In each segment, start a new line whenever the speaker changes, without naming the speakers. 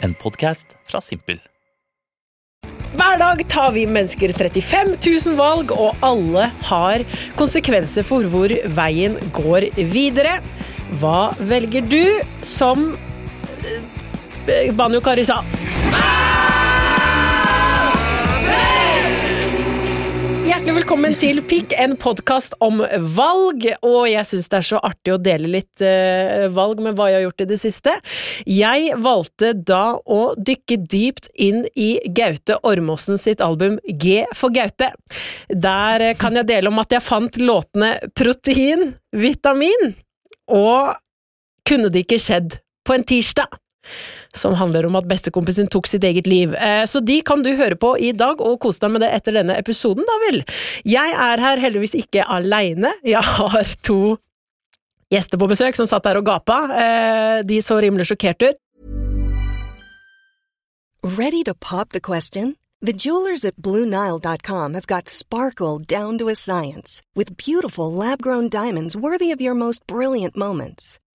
En podkast fra Simpel.
Hver dag tar vi mennesker 35 000 valg, og alle har konsekvenser for hvor veien går videre. Hva velger du som eh, Banjo Kari sa? Hjertelig velkommen til Pikk, en podkast om valg. Og jeg syns det er så artig å dele litt eh, valg med hva jeg har gjort i det siste. Jeg valgte da å dykke dypt inn i Gaute Ormåsen sitt album G for Gaute. Der eh, kan jeg dele om at jeg fant låtene Protein, Vitamin og Kunne det ikke skjedd på en tirsdag som handler om at bestekompisen tok sitt eget liv. Eh, Så de kan du høre på i dag, og kose deg med det etter denne episoden, da vel. Jeg er her heldigvis ikke aleine. Jeg har to gjester på besøk som satt her og gapa. Eh, De så rimelig sjokkert ut.
Ready to pop the question? The jewelers at BlueNile.com have got sparkle down to a science with beautiful lab grown diamonds worthy of your most brilliant moments.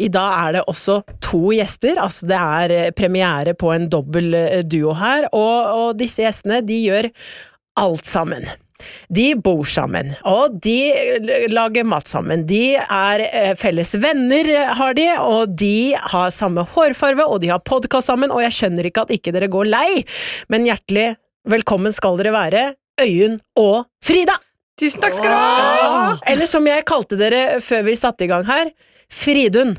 I dag er det også to gjester. altså Det er eh, premiere på en dobbel eh, duo her. Og, og disse gjestene de gjør alt sammen. De bor sammen, og de l- lager mat sammen. De er eh, felles venner, eh, har de, og de har samme hårfarve, og de har podkast sammen, og jeg skjønner ikke at ikke dere går lei, men hjertelig velkommen skal dere være, Øyunn og Frida!
Tusen takk skal du ha!
Eller som jeg kalte dere før vi satte i gang her, Fridun.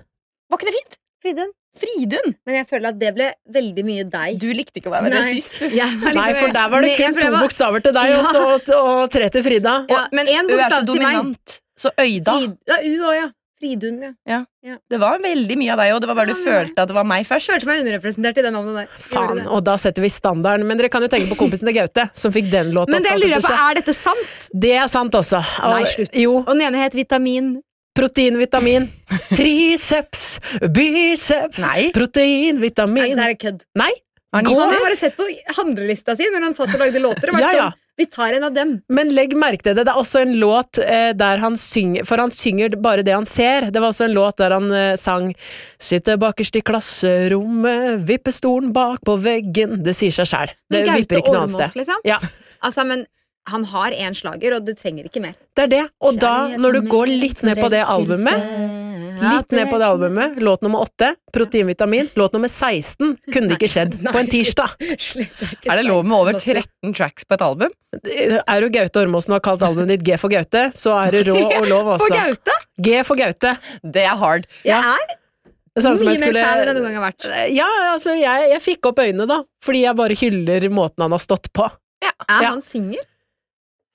Var ikke det fint?
Fridun.
Fridun!
Men jeg føler at det ble veldig mye deg.
Du likte ikke å være med
Nei.
det sist.
Jeg var
Nei,
liksom-
for der var det
Nei,
kun
for
to
var-
bokstaver til deg
Ja.
og så- og tre til Frida.
Ja,
men
en
U er så
bokstav til meg.
dominant. Så Øyda.
Frid- Ja, U òg, ja. Fridun, ja.
Det var veldig mye av deg, og det var bare
Ja,
du
men-
følte at det var meg først.
Følte meg underrepresentert i det navnet der. Gjorde
Faen,
det.
og da setter vi standarden. Men dere kan jo tenke på kompisen til Gaute, som fikk den låta.
Men det
oppkalt
lurer jeg
etter
på,
seg.
er dette sant?
Det er sant også. Og-
Nei, slutt.
Jo.
Og den ene het Vitamin.
Protein, vitamin. Triceps, biceps,
Nei.
protein,
Nei, det
vitamin
her er kødd.
Nei,
Har
Han
den
hadde
gitt det?
bare sett på handlelista si når han satt og lagde låter. Og vært
Ja, ja.
sånn, vi tar en av dem.
men legg merke til det. Det er også en låt eh, der han synger For han synger bare det han ser. Det var også en låt der han eh, sang Sitter bakerst i klasserommet, vippestolen bak på veggen Det sier seg sjæl. Det
Men Gaute
vipper ikke noe annet
Ormås,
sted.
liksom.
Ja.
Altså, men han har én slager, og du trenger ikke mer.
Det er det. Og da, når du går litt ned på det albumet Litt ned på det albumet. Låt nummer åtte, Proteinvitamin. Låt nummer 16, Kunne det ikke skjedd, på en tirsdag.
Er det lov med over 13 tracks på et album?
Er du Gaute Ormåsen og har kalt albumet ditt G for Gaute, så er du rå og lov
For
også.
Gaute!
G for Gaute.
Det er hard.
Jeg er
Det samme som
mye
jeg
mer fan enn Sånn jeg
skulle
noen gang har vært.
Ja, altså, jeg, jeg fikk opp øynene, da, fordi jeg bare hyller måten han har stått på.
Er
Ja.
han singel?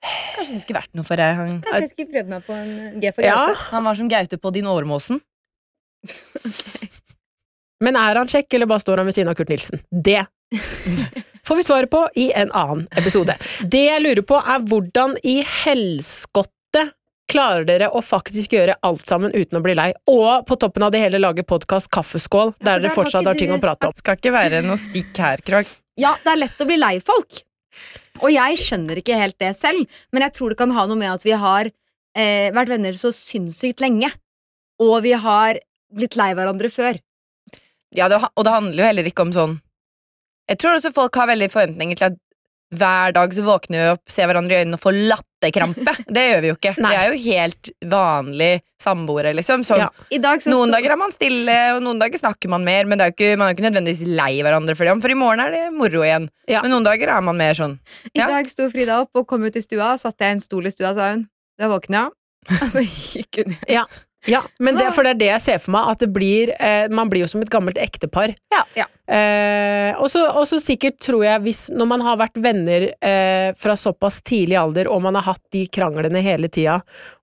Kanskje det skulle vært noe for deg.
Kanskje
Han,
jeg skulle prøvd meg på en eh, G for
Ja,
Gaute?
han var som Gaute på Din Åremåsen.
Men er han kjekk, eller bare står han ved siden av Kurt Nilsen? Det får vi svaret på i en annen episode. Det jeg lurer på, er hvordan i helskotte klarer dere å faktisk gjøre alt sammen uten å bli lei? Og på toppen av det hele lage podkast Kaffeskål,
Ja, for
der dere
der var
fortsatt
ikke
har ting
du-
å prate om.
Skal ikke være noe stikk her, Krog.
Ja, det er lett å bli lei folk. Og jeg skjønner ikke helt det selv, men jeg tror det kan ha noe med at vi har eh, vært venner så sinnssykt lenge, og vi har blitt lei hverandre før.
Ja, det, og det handler jo heller ikke om sånn Jeg tror også folk har veldig forventninger til at hver dag så våkner vi opp, ser hverandre i øynene og får latterkrampe. Det gjør vi jo ikke.
Nei.
Vi er jo helt vanlig samboere, liksom. Sånn,
Ja.
I dag så
Noen
sto-
dager er man stille, og noen dager snakker man mer, men det er jo ikke, man er jo ikke nødvendigvis lei hverandre for det, for i morgen er det moro igjen.
Ja.
Men noen dager er man mer sånn.
I
ja.
dag sto Frida opp og kom ut i stua, og satte jeg en stol i stua, sa hun. Da våkna jeg, og så gikk hun igjen.
Ja. Ja, men det, for det er det jeg ser for meg, at det blir, eh, man blir jo som et gammelt ektepar.
Ja, ja.
Eh, og så og så sikkert tror jeg, hvis, når man har vært venner eh, fra såpass tidlig alder, og man har hatt de kranglene hele tida,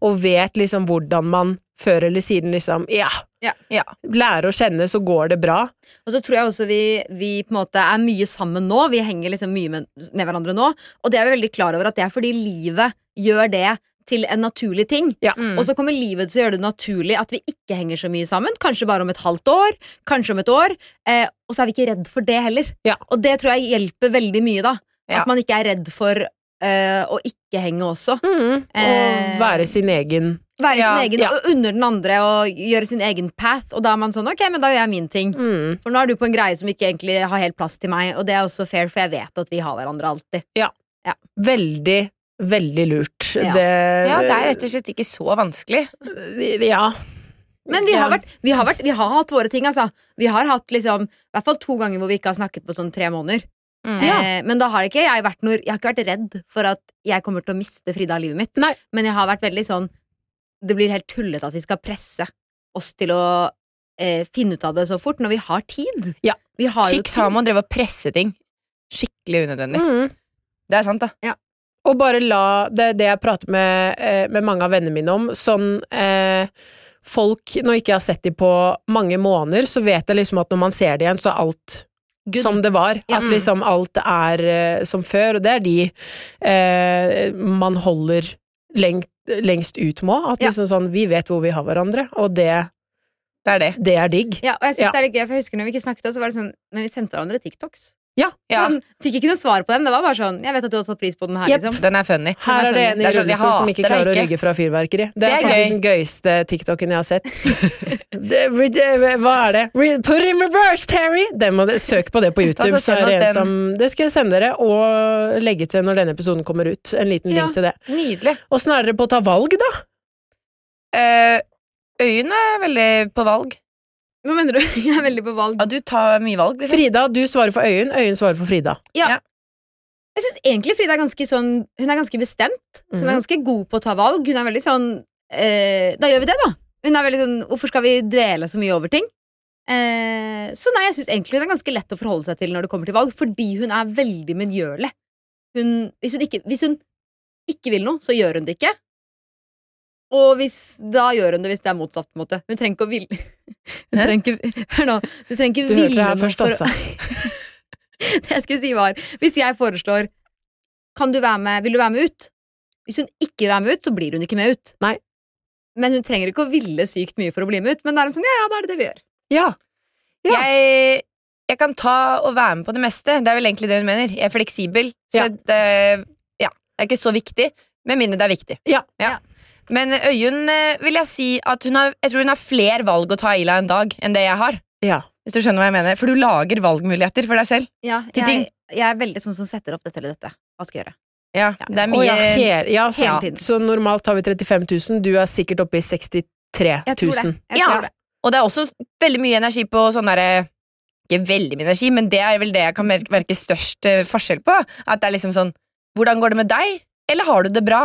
og vet liksom hvordan man før eller siden liksom Ja,
Ja.
lærer å kjenne, så går det bra.
Og så tror jeg også vi, vi på en måte er mye sammen nå. Vi henger liksom mye med, med hverandre nå. Og det er vi veldig klar over at det er fordi livet gjør det til en naturlig ting.
Ja.
Mm.
Og så kommer livet til å gjøre det naturlig at vi ikke henger så mye sammen. Kanskje bare om et halvt år, kanskje om et år. Eh, og så er vi ikke redd for det heller.
Ja.
Og det tror jeg hjelper veldig mye, da.
Ja.
At man ikke er redd for eh, å ikke henge også.
Mm. Og
Eh,
være sin egen
Være
Ja,
sin egen,
ja.
og under den andre og gjøre sin egen path. Og da er man sånn, ok, men da gjør jeg min ting.
mm.
For nå er du på en greie som ikke egentlig har helt plass til meg, og det er også fair, for jeg vet at vi har hverandre alltid.
Veldig, veldig lurt.
Ja.
Det
ja, det er rett og slett ikke så vanskelig.
Ja.
Men vi har,
Ja.
vært, vi, har vært, vi har hatt våre ting, altså. Vi har hatt liksom, i hvert fall to ganger hvor vi ikke har snakket på sånn tre måneder.
Mm.
Ja.
Eh, men da har ikke jeg vært noe Jeg har ikke vært redd for at jeg kommer til å miste Frida av livet mitt.
Nei.
Men jeg har vært veldig sånn Det blir helt tullete at vi skal presse oss til å eh, finne ut av det så fort, når vi har tid.
Ja.
Vi har jo
Chicks har
tid.
man drevet og presse ting. Skikkelig unødvendig.
Mm.
Det er sant, da.
Og bare la Det er det jeg prater med, eh, med mange av vennene mine om. Sånn eh, Folk, når ikke jeg har sett dem på mange måneder, så vet jeg liksom at når man ser dem igjen, så er alt som det var.
Ja.
At liksom alt er eh, som før, og det er de eh, man holder lengt, lengst ut med. At
Ja.
liksom sånn Vi vet hvor vi har hverandre, og det,
Det er det.
det er digg.
Ja, og jeg synes
Ja.
det er litt gøy, for jeg husker når vi ikke snakket, så var det sånn Men vi sendte hverandre TikToks.
Ja.
Ja.
Sånn, fikk ikke noe svar på dem. Det var bare sånn Jeg vet at du har satt pris på den her,
Jep.
liksom.
Den er funny.
Her er det en i
Det er sånn, vi
rullestol som ikke
hater deg
klarer å
ikke.
rygge fra fyrverkeri. Det er,
Det er
faktisk
gøy.
den gøyeste TikToken jeg har sett. det, re- det, hva er det? Re, put in reverse, Terry! Den må dere- søk på det på
Ta så
YouTube. Så
send
er det,
oss
en
den.
som, det skal jeg sende dere, og legge til når denne episoden kommer ut. En liten
Ja.
link til det.
Nydelig.
Åssen er dere på å ta valg, da?
Eh, Øyen er veldig på valg.
Hva mener du? Jeg er veldig på valg.
Ja, du tar mye valg. Liksom.
Frida, du svarer for Øyunn. Øyunn svarer for Frida.
Jeg synes egentlig Frida er ganske sånn Hun er ganske bestemt. Så hun
Mhm.
er ganske god på å ta valg. Hun er veldig sånn eh, Da gjør vi det, da. Hun er veldig sånn Hvorfor skal vi dvele så mye over ting? Eh, så nei, jeg syns egentlig hun er ganske lett å forholde seg til når det kommer til valg, fordi hun er veldig medgjørlig. Hun, hvis, hun ikke, hvis hun ikke vil noe, så gjør hun det ikke. Og hvis, da gjør hun det hvis det er motsatt. på en måte Hun trenger ikke å ville Hun trenger ikke Hør nå. Hun trenger ikke
Du hørte det
ville
her
noe
først,
for å-
altså.
det jeg skulle si var Hvis jeg foreslår Kan du være med, vil du være med ut? Hvis hun ikke vil være med ut, så blir hun ikke med ut
Nei.
Men hun trenger ikke å ville sykt mye for å bli med ut Men da er hun sånn, ja, ja, da er det det vi gjør
Ja. Ja.
Jeg, jeg kan ta og være med på det meste. Det er vel egentlig det hun mener. Jeg er fleksibel. Så
Ja.
det, ja, det er ikke så viktig, med mindre det er viktig.
Ja.
Ja.
Men Øyunn eh, vil jeg si at hun har, jeg tror hun har flere valg å ta Ila en dag enn det jeg har.
ja.
Hvis du skjønner hva jeg mener For du lager valgmuligheter for deg selv.
ja,
Til
jeg,
ting.
jeg er veldig sånn som setter opp dette eller dette Hva skal jeg gjøre?
Ja, Det er
Å,
mye
ja, hele, ja, så,
hele tiden.
så normalt har vi 35 000. Du er sikkert oppe i 63
Jeg tror det,
000.
jeg
Ja.
tror det.
Og det er også veldig mye energi på sånn derre Ikke veldig mye energi, men det er vel det jeg kan merke, merke størst eh, forskjell på. At det er liksom sånn Hvordan går det med deg? Eller har du det bra?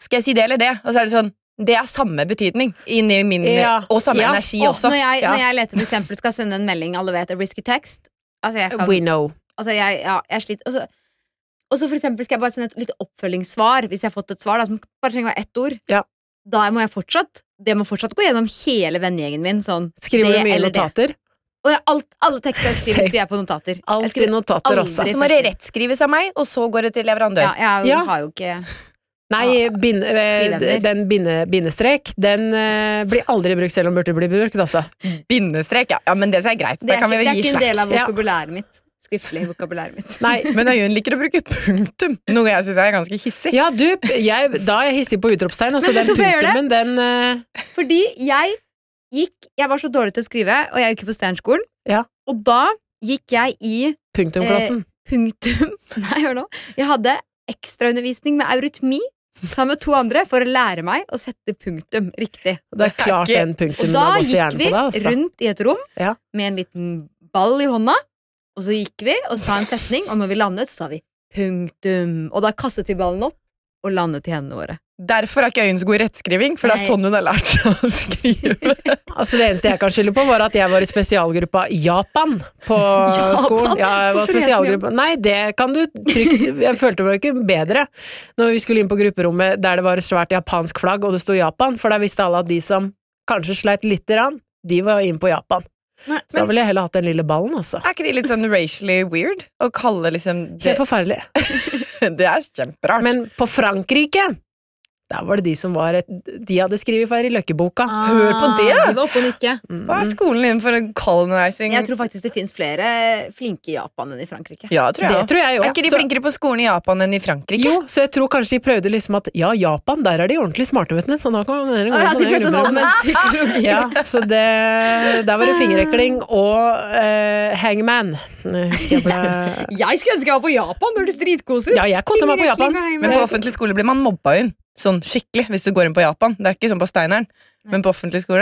Skal jeg si det eller det? Og så er det sånn Det er samme betydning inni min
Ja.
Og samme
Ja.
energi
Åh,
også.
når, jeg,
Ja.
når jeg leter for eksempel skal sende en melding Alle vet, a risky text Altså, jeg kan
We know.
Altså, jeg, ja, jeg sliter. Og så- Og så for eksempel skal jeg bare sende et lite oppfølgingssvar, hvis jeg har fått et svar da, som bare trenger å være ett ord.
Ja.
Da må jeg fortsatt Det må fortsatt gå gjennom hele vennegjengen min. Sånn,
Skriver
det
du mye
eller det.
notater?
Og jeg, alt, alle tekster jeg skriver,
Same.
skriver jeg på notater. Jeg
Alltid
skriver
notater altså.
aldri
også.
Og så må det rettskrives av meg, og så går det til leverandør.
Ja, jeg
Ja.
har jo ikke
Nei,
Ah,
bind- eh,
Skriveemner.
den binde, bindestrek Den eh, blir aldri brukt selv om den burde bli brukt altså.
Bindestrek, ja. ja, men det som er greit.
Det
Da
er,
kan
ikke,
vi
det er
vel gi
ikke en
slack.
del av
Ja.
vokabulæret mitt. Skriftlig vokabulæret mitt.
Nei,
Men Øyunn liker å bruke punktum, noe jeg syns er ganske hissig.
ja du, jeg, da er jeg hissig på utropstegn også,
Men
den
vet du hvorfor jeg gjør det?
punktumen den eh,
Fordi jeg gikk Jeg var så dårlig til å skrive, og jeg gikk jo på Sternskolen.
Ja.
Og da gikk jeg i Eh,
punktumklassen
punktum Nei, hør nå. Jeg hadde ekstraundervisning med eurytmi sammen med to andre for å lære meg å sette punktum riktig.
Det er klart
ikke-
den
Og
punktumen
da
har gått i
gikk
hjernen
vi
på deg altså.
rundt i et rom
Ja.
med en liten ball i hånda, og så gikk vi og sa en setning, og når vi landet, så sa vi punktum. Og da kastet vi ballen opp og landet i hendene våre.
Derfor er ikke Øyunn så god i rettskriving, for det er
Nei.
sånn hun har lært seg å skrive.
Altså Det eneste jeg kan skylde på, var at jeg var i spesialgruppa Japan på
Japan?
skolen. Ja, jeg var
Hvorfor het den
spesialgruppa. Nei, det kan du trygt Jeg følte meg ikke bedre når vi skulle inn på grupperommet der det var et svært japansk flagg og det sto Japan, for der visste alle at de som kanskje sleit lite grann, de var inn på Japan.
Nei,
Så da ville jeg heller hatt den lille ballen, altså.
Er ikke det litt sånn racially weird å kalle liksom Det,
Helt forferdelig.
det er kjemperart.
Men på Frankrike der var det de som var et, De hadde skrevet feil i Løkkeboka.
Hør på det, da.
Ah, Vi var oppe og nikke.
Mm.
Hva er skolen din for en colonizing?
Jeg tror faktisk det fins flere flinke i Japan enn i Frankrike.
ja, tror
Det
jeg.
tror jeg jo.
Er ikke de
Så-
flinkere på skolen i Japan enn i Frankrike?
Jo, så jeg tror kanskje de prøvde liksom at ja, Japan, der er de ordentlig smarte, vet du. Så da kan dere gå
Å, ja,
på
de
den
følte sånn
grunnen.
allmenn psykologi.
ja, så det Der var det fingerrekling og eh, hangman. Jeg Husker jeg ble
Jeg skulle ønske jeg var på Japan, det høres dritkos ut.
Ja, jeg koser meg på Japan.
Men på offentlig skole blir man mobba inn sånn skikkelig hvis du går inn på Japan. Det er ikke sånn på Steineren, men på offentlig skole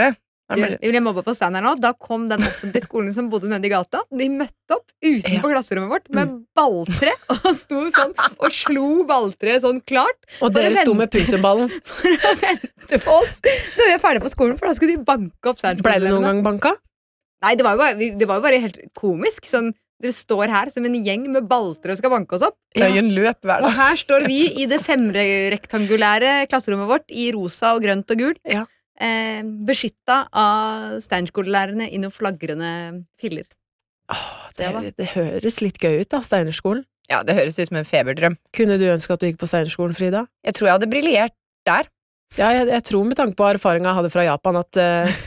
da
Du,
blir det-
jeg ble mobba på stand her nå. Da kom den offentlige skolen som bodde nede i gata. De møtte opp utenfor klasserommet vårt med
Mm.
balltre og sto sånn og slo balltreet sånn klart
Og
Bare
dere sto med
vent.
punktumballen.
for å vente på oss når vi er ferdige på skolen, for da skulle de banke opp
Ble det noen
Steinerskolen-elevene.
gang banka?
Nei, det var, jo bare, vi- det var jo bare helt komisk. Sånn, dere står her som en gjeng med balltre og skal banke oss opp.
Øyen løp hver
Og
dag.
her står vi i det femrektangulære klasserommet vårt i rosa og grønt og gult.
Ja.
Eh, Beskytta av Steinerskolelærerne i noen flagrende filler.
Åh, det, det høres litt gøy ut, da. Steinerskolen.
Ja, Det høres ut som en feberdrøm.
Kunne du ønske at du gikk på Steinerskolen, Frida?
Jeg tror jeg hadde briljert der.
Ja, jeg, jeg tror med tanke på erfaringa jeg hadde fra Japan, at eh,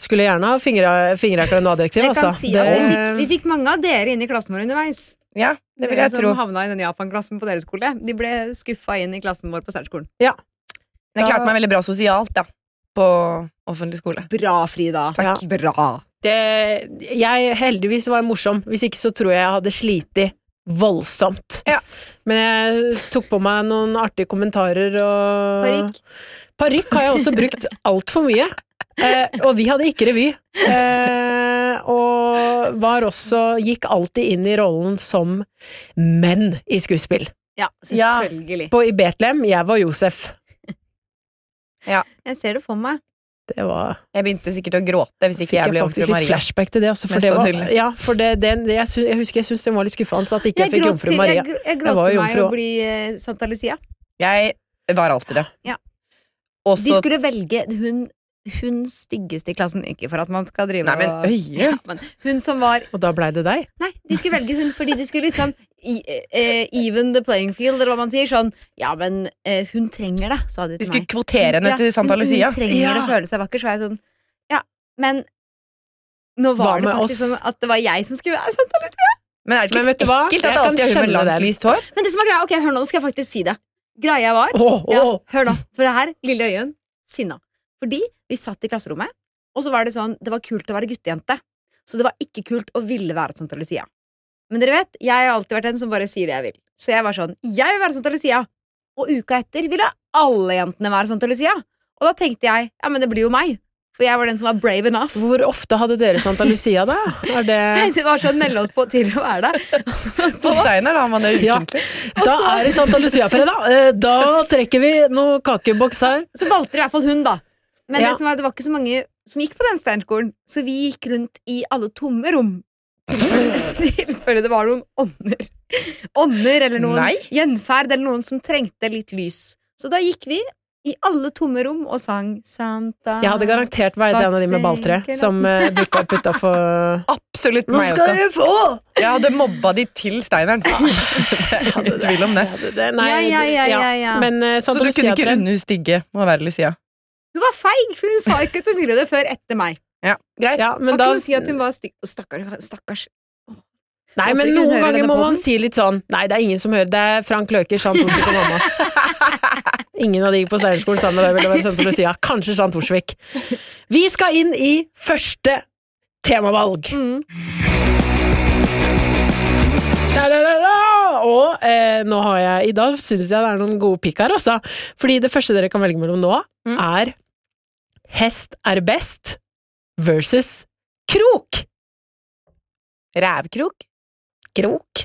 skulle gjerne ha fingre- fingerrekling og adjektiv,
Jeg kan
altså.
si at vi fikk, vi fikk mange av dere inn i klassen vår underveis.
Ja, det vil
Dere
jeg tro.
Som havna i den Japan-klassen på deres skole. De ble skuffa inn i klassen vår på Steinerskolen.
Men
Ja.
jeg klarte meg veldig bra sosialt da, på offentlig skole.
Bra, Frida.
Takk.
Bra.
det, jeg heldigvis var morsom, hvis ikke så tror jeg jeg hadde slitt voldsomt.
Ja.
Men jeg tok på meg noen artige kommentarer og
Parykk.
Parykk har jeg også brukt altfor mye. Eh, og vi hadde ikke revy. Eh, og var også Gikk alltid inn i rollen som menn i skuespill.
Ja,
Ja.
selvfølgelig.
På, I Betlehem, jeg var Josef.
Jeg ser det for meg.
Det var
Jeg begynte sikkert å gråte hvis ikke
Fikk
jeg
jeg
ble
faktisk
jomfru
litt
Maria.
flashback til det, altså. For
Mest
det var,
sannsynlig.
ja, for det, den- det, jeg, sy- jeg husker jeg syntes den var litt skuffende altså, at ikke jeg fikk
gråt
Jomfru
til-
Maria.
Jeg, gr- jeg
Jeg
gråt
var
til meg
jomfru
å
også.
bli eh, Santa Lucia.
Jeg var alltid det.
Ja. De
Også,
skulle velge hun, hun styggeste i klassen. Ikke for at man skal drive
Nei, men
og-
øye.
Ja, men hun som var
Og da blei det deg.
Nei, de skulle velge hun fordi de skulle liksom i- eh, Even the playing field, eller hva man sier. Sånn Ja, men eh, hun trenger det, sa de
de
til
skulle
meg.
kvotere henne
Ja,
til Santa
hun-
Lucia.
Hun trenger
Ja.
å føle seg vakker, så var jeg sånn Ja, men nå
Hva
var det
med
faktisk
oss?
sånn at det var jeg som skulle være Santa Lucia.
Men er det ikke
Men vet du hva?
ekkelt
Jeg
at det
kan
alltid er hun med
skjønne
langt,
den.
lyst hår?
Men det som var greia, ok, hør nå, nå skal jeg faktisk si det. Greia var
Åh,
ja,
åh.
Hør nå, for det her, lille øyen, sinna. Fordi vi satt i klasserommet, og så var det sånn, det var kult å være guttejente. Så det var ikke kult å ville være Santa Lucia. Men dere vet, jeg har alltid vært den som bare sier det jeg vil. Så jeg var sånn, jeg vil være Santa Lucia. Og uka etter ville alle jentene være sånn Santa Lucia. Og da tenkte jeg, ja, men det blir jo meg. For jeg var den som var brave enough.
Hvor ofte hadde dere Santa Lucia, da? Er det
Det var sånn, melde oss på til å være det. Og
På
så,
Steiner da, man er
Ja.
ukentlig.
Da er det Santa Lucia-fredag! Eh, Da trekker vi noe kakeboks her.
så valgte de i hvert fall hun, da. Men
Ja.
det, som var, det var ikke så mange som gikk på den steinskolen, så vi gikk rundt i alle tomme rom. I tilfelle det var noen ånder. Ånder eller noen
Nei.
gjenferd eller noen som trengte litt lys. Så da gikk vi i alle tomme rom og sang Santa
Jeg hadde garantert vært en av de med balltre som uh, dukka opp utafor
Absolutt altså. meg også.
du få!
Jeg hadde mobba de til Steineren. Det er ingen tvil om det.
Nei,
Ja, ja, ja, ja, ja.
Men eh,
Så
Santa
du kunne ikke
Lucia-trend
unne hun stygge å være Lucia?
Hun var feig, for hun sa ikke at hun ville det før etter meg.
Ja, greit.
ja,
Man
men da,
kunne si at hun var stygg. Å, Stakkars. stakkars.
Nei,
Håper
men
ikke hun
noen
hører
ganger
denne
må man
podden.
si litt sånn Nei, det er ingen som hører. Det er Frank Løker, Jean Thorsvik og mamma. Ingen av de gikk på Steinerskolen sammen med deg, ville være Santa Lucia. Kanskje Jean Thorsvik. Vi skal inn i første temavalg.
Mm.
Da, da, da, da. Og eh, nå har jeg I dag syns jeg det er noen gode pikk her, altså. Fordi det første dere kan velge mellom nå,
Mm.
er Hest er best versus krok.
Rævkrok?
Krok.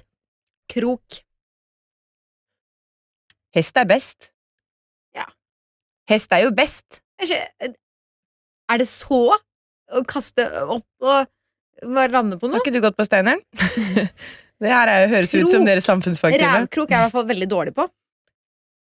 Krok.
Hest er best.
Ja.
Hest er jo best.
Jeg skjø- Er det så å kaste opp og bare lande på
Har
noe?
ikke du gått på Steineren? det her er, høres ut som
Krok.
deres samfunnsfagtime.
Rævkrok er jeg i hvert fall veldig dårlig på.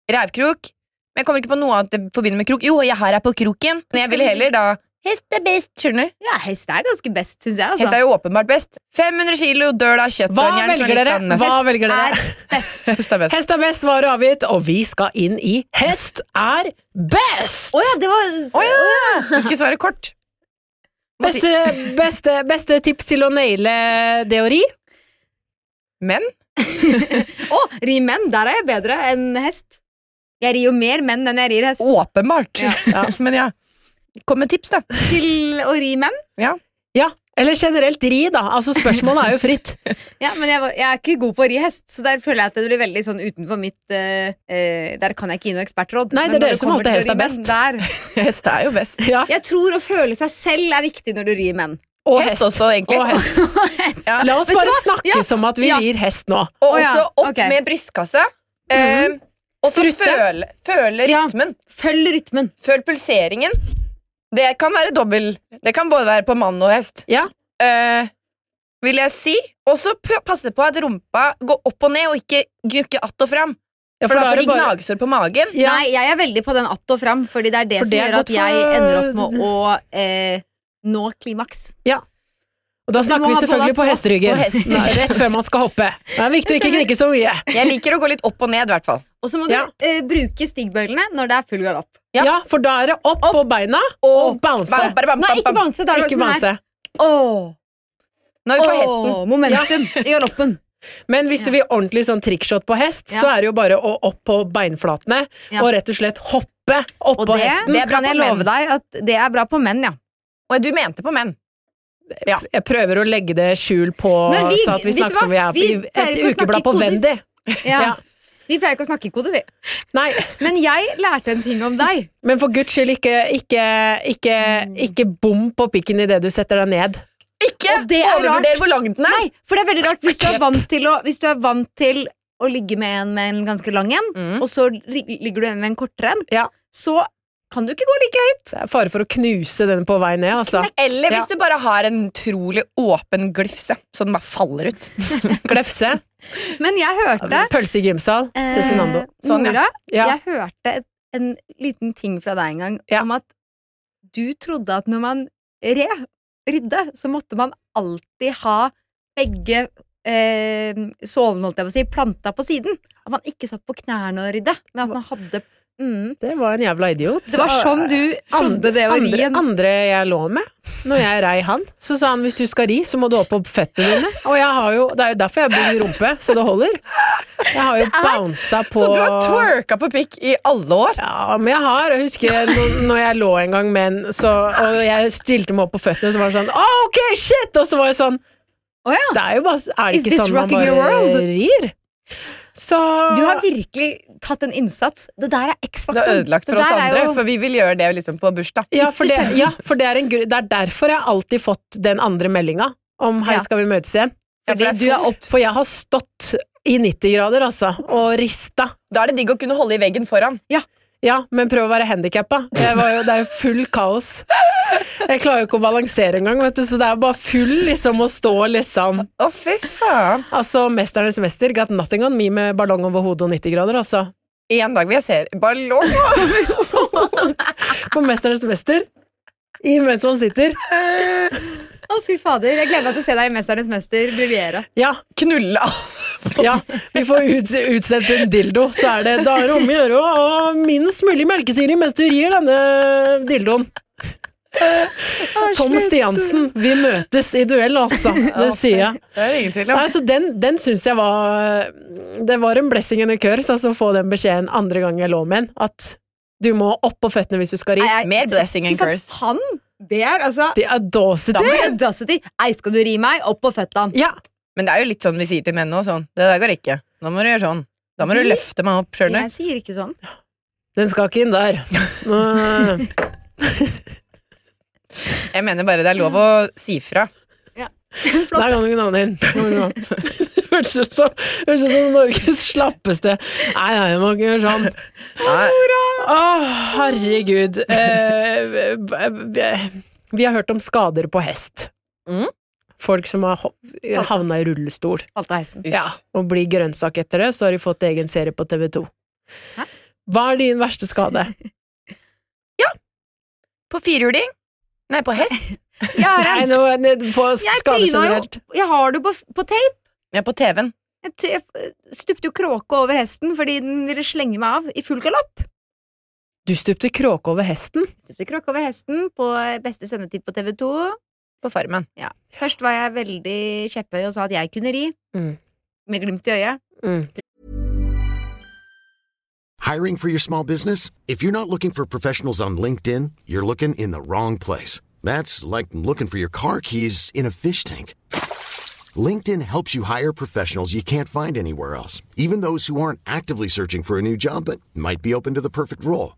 Rævkrok. Men jeg kommer ikke på noe annet jeg forbinder med krok. Jo, jeg her er på kroken. Men jeg ville heller da Hest er best. Skjønner du?
Ja, hest er ganske best, syns jeg.
Hest
Altså.
er jo åpenbart best. 500 kilo dør av kjøtt
Hva
og en hjerne som er
velger
litt
dere?
annet.
Hva velger dere?
altså. er best.
Hest er best.
Hest er best, svar er avgitt, og vi skal inn i Hest er best!
Å ja, det var
Å ja! Du skulle svare kort.
Beste, beste, beste tips til å naile det å ri?
Men
Å, ri menn! Der er jeg bedre enn hest. Jeg rir jo mer menn enn jeg rir hest.
åpenbart.
Ja.
Men ja. Kom med tips, da.
Til å ri menn?
Ja, eller generelt ri, da. Altså, spørsmålet er jo fritt.
Ja, men jeg, var- jeg er ikke god på å ri hest, så der føler jeg at det blir veldig sånn utenfor mitt eh, eh, Der kan jeg ikke gi noe ekspertråd.
Nei, det
Men
er
når
dere som
kommer
alltid
til å
hest er
ri menn, Der.
Hest er jo best.
Ja.
Jeg tror å føle seg selv er viktig når du rir menn.
Og
hest, også, egentlig.
Og hest.
Hest.
Ja.
La oss
Vet du
bare
hva?
snakke
Ja.
som at vi
Ja.
rir hest nå.
Og
Å ja,
også opp
ok.
med brystkassa. Eh, og så
Strutte.
føle, føle
Ja.
rytmen.
Følg rytmen.
Føl pulseringen. Det kan være dobbel. Det kan både være på mann og hest.
Ja.
Eh, vil jeg si. Og så p- passe på at rumpa går opp og ned, og ikke gnukke att og fram.
Ja,
For, da
er
får
det
de
bare-
gnagsår på magen.
Ja.
Nei, jeg er veldig på den att og fram, fordi det er det
For
som
det er
gjør
godt
at jeg
for-
ender opp med å eh, nå klimaks.
Og da
Du
snakker
må
vi
ha
selvfølgelig
både
på
tå
hesteryggen.
og hesten.
Nei, Rett før man skal hoppe. Det er viktig å ikke knikke så mye.
Jeg liker å gå litt opp og ned, i hvert fall.
Og så må du
Ja.
eh, bruke stigbøylene når det er full galopp.
Ja.
Ja, for da er det opp,
Opp.
på beina og bounce.
Bam, bare bam,
Nei,
bam,
ikke
bam.
bounce. Da er det
Ikke
sånn her.
bounce.
Åh,
Nå er vi på hesten.
åh, momentum i galoppen.
Men hvis du vil ordentlig sånn trickshot på hest,
Ja.
så er det jo bare å opp på beinflatene
Ja.
og rett og slett hoppe
Og
oppå
det,
hesten.
Det er bra
kan jeg
på menn.
love deg at det er bra på menn, ja.
Og du mente på menn.
Jeg prøver å legge det skjul på
Men vi-
så at vi
vet du
snakker som vi
hva?
er på
Vi
i
pleier
et
ikke å snakke
ukeblad på
koder.
Wendy.
ja.
Ja.
Vi pleier ikke å snakke i kode, vi.
Nei,
Men jeg lærte en ting om deg.
men for guds skyld, ikke, ikke, ikke,
Mm.
ikke bom på pikken idet du setter deg ned.
Ikke
Og det er
overvurder
rart.
hvor lang den er!
Nei, for det er veldig rart hvis du er vant til å, hvis du er vant til å ligge med en med en ganske lang en,
Mm.
og så ri- ligger du en med en kortere en,
Ja.
så kan du ikke gå like høyt.
Det er fare for å knuse den på vei ned, altså.
Eller
Ja.
hvis du bare har en utrolig åpen glifse, så den bare faller ut.
Glefse.
Men jeg hørte
Pølse i gymsal.
eh,
Cezinando.
Sånn, ja.
Nora,
Ja.
jeg hørte et, en liten ting fra deg en gang
Ja.
om at du trodde at når man re, rydde, så måtte man alltid ha begge eh, sålene, holdt jeg på å si, planta på siden. At man ikke satt på knærne og rydde, men at man hadde mm.
Det var en jævla idiot.
Det var
Så,
sånn du trodde det å ri
andre,
en
andre jeg lå med, når jeg rei han, så sa han hvis du skal ri, så må du opp på føttene dine. Og jeg har jo, det er jo derfor jeg bygger rumpe, så det holder. Jeg har jo bounsa på
Så du har twerka på pikk i alle år?
ja, men jeg har. Jeg husker jeg, når- når jeg lå en gang med en, så, og jeg stilte meg opp på føttene, så var han sånn «Å, OK, shit! Og så var jeg sånn
Å ja.
Det er jo bare Er det
Is
ikke
this
sånn man
rocking your
bare
world?
rir? Så
Du har virkelig tatt en innsats. Det der
Du
er
har
X-faktoren.
ødelagt
Det
for oss
der er
andre,
jo-
for vi vil gjøre det liksom på bursdag.
Ja, for
Ikke
det,
skjønner.
ja, for det, er, en, gru- det er derfor jeg alltid fått den andre meldinga om 'hei,
Ja.
skal vi møtes igjen'?
Ja, for det
Fordi
er
du er opp...
For jeg har stått i 90 grader, altså, og rista.
Da er det digg å kunne holde i veggen foran.
Ja, men prøv å være handikappa. Det var jo- det er jo full kaos. Jeg klarer jo ikke å balansere engang, vet du, så det er jo bare full liksom å stå liksom
Å, fy faen.
Altså, Mesternes mester got nothing on me med ballong over hodet og 90 grader, altså.
En dag vil jeg se ballong.
På Mesternes mester, i mens man sitter.
Å, fy fader. Jeg gleder meg til å se deg i Mesternes mester briljere.
Ja,
Knulle av.
Ja, vi får ut, utsendt en dildo, så er det da er det om å gjøre å ha minst mulig melkesyre mens du rir denne dildoen. Tom Stiansen, vi møtes i duell, altså. Det sier jeg.
Det er det ingen tvil
Nei,
om.
så Den, den syns jeg var Det var en blessing in a curse altså, å få den beskjeden andre gang jeg lå med en, at du må opp på føttene hvis du skal ri.
Nei, jeg-
Mer blessing
Fy
and
faen,
curse.
han! Det er altså
The audacity!
Da må jeg dasse til. Ei, skal du ri meg? Opp på føttene.
Ja,
Men det er jo litt sånn vi sier til menn òg. Sånn. Det der går ikke. Nå må du gjøre sånn. Da må du
Vi-
løfte meg opp, skjønner
Jeg sier ikke sånn.
den skal ikke inn der. Nå-
du. Jeg mener bare det er lov å si fra.
Flott.
Der kan du knane inn. Kan du knane. Det Hørtes ut som, hørtes ut som Norges slappeste Nei, nei, det må ikke gjøre sånn.
Nei.
Åh, herregud. Eh, b- b- vi har hørt om skader på hest.
Mm.
Folk som har ho- havna i rullestol
Falt av hesten.
ja, og blir grønnsak etter det, så har de fått egen serie på TV2. Hva er din verste skade?
På firhjuling? Nei, på hest?
Jeg har
Nei,
en
nå, nå- på
Jeg
skade
tryna jo
generelt.
Jeg har det på, på tape.
Ja, på TV-en.
Jeg, t- jeg f- stupte jo kråke over hesten fordi den ville slenge meg av i full galopp.
Du stupte kråke over hesten.
Stupte kråke over hesten på eh, beste sendetid på TV 2.
På Farmen.
Først var jeg veldig kjepphøy og sa at jeg kunne ri.
Mm.
Med glimt i øyet.
Hiring for your small business? If you're not looking for professionals on LinkedIn, you're looking in the wrong place. That's like looking for your car keys in a fish tank. LinkedIn helps you hire professionals you can't find anywhere else, even those who aren't actively searching for a new job but might be open to the perfect role.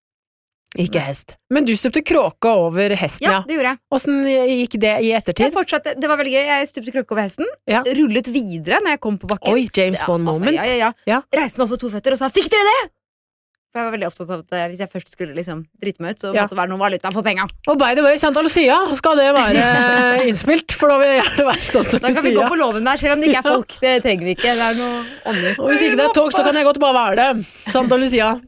Ikke hest. Men du stupte kråke over hesten, ja.
Ja, det gjorde jeg.
Åssen gikk det i
Jeg
ettertid?
fortsatte, det var veldig gøy. Jeg stupte kråke over hesten.
Ja.
Rullet videre når jeg kom på bakken.
Oi, James
Ja,
Bond-moment.
Altså, ja, ja, ja.
Ja.
Reiste meg opp på to føtter og sa 'fikk dere det?' For jeg var veldig opptatt av at eh, hvis jeg først skulle liksom drite meg ut, så
Ja.
måtte det være noe valuta for penga.
Og by the way, Santa Lucia skal det være innspilt, for da vil jeg gjerne være i Santa
Da kan vi gå
Lucia.
på låven der, selv om det ikke er
Ja.
folk. Det trenger vi ikke. Det er noe ånder.
Og hvis ikke det er tog, så kan jeg godt bare være det. Santa Lucia.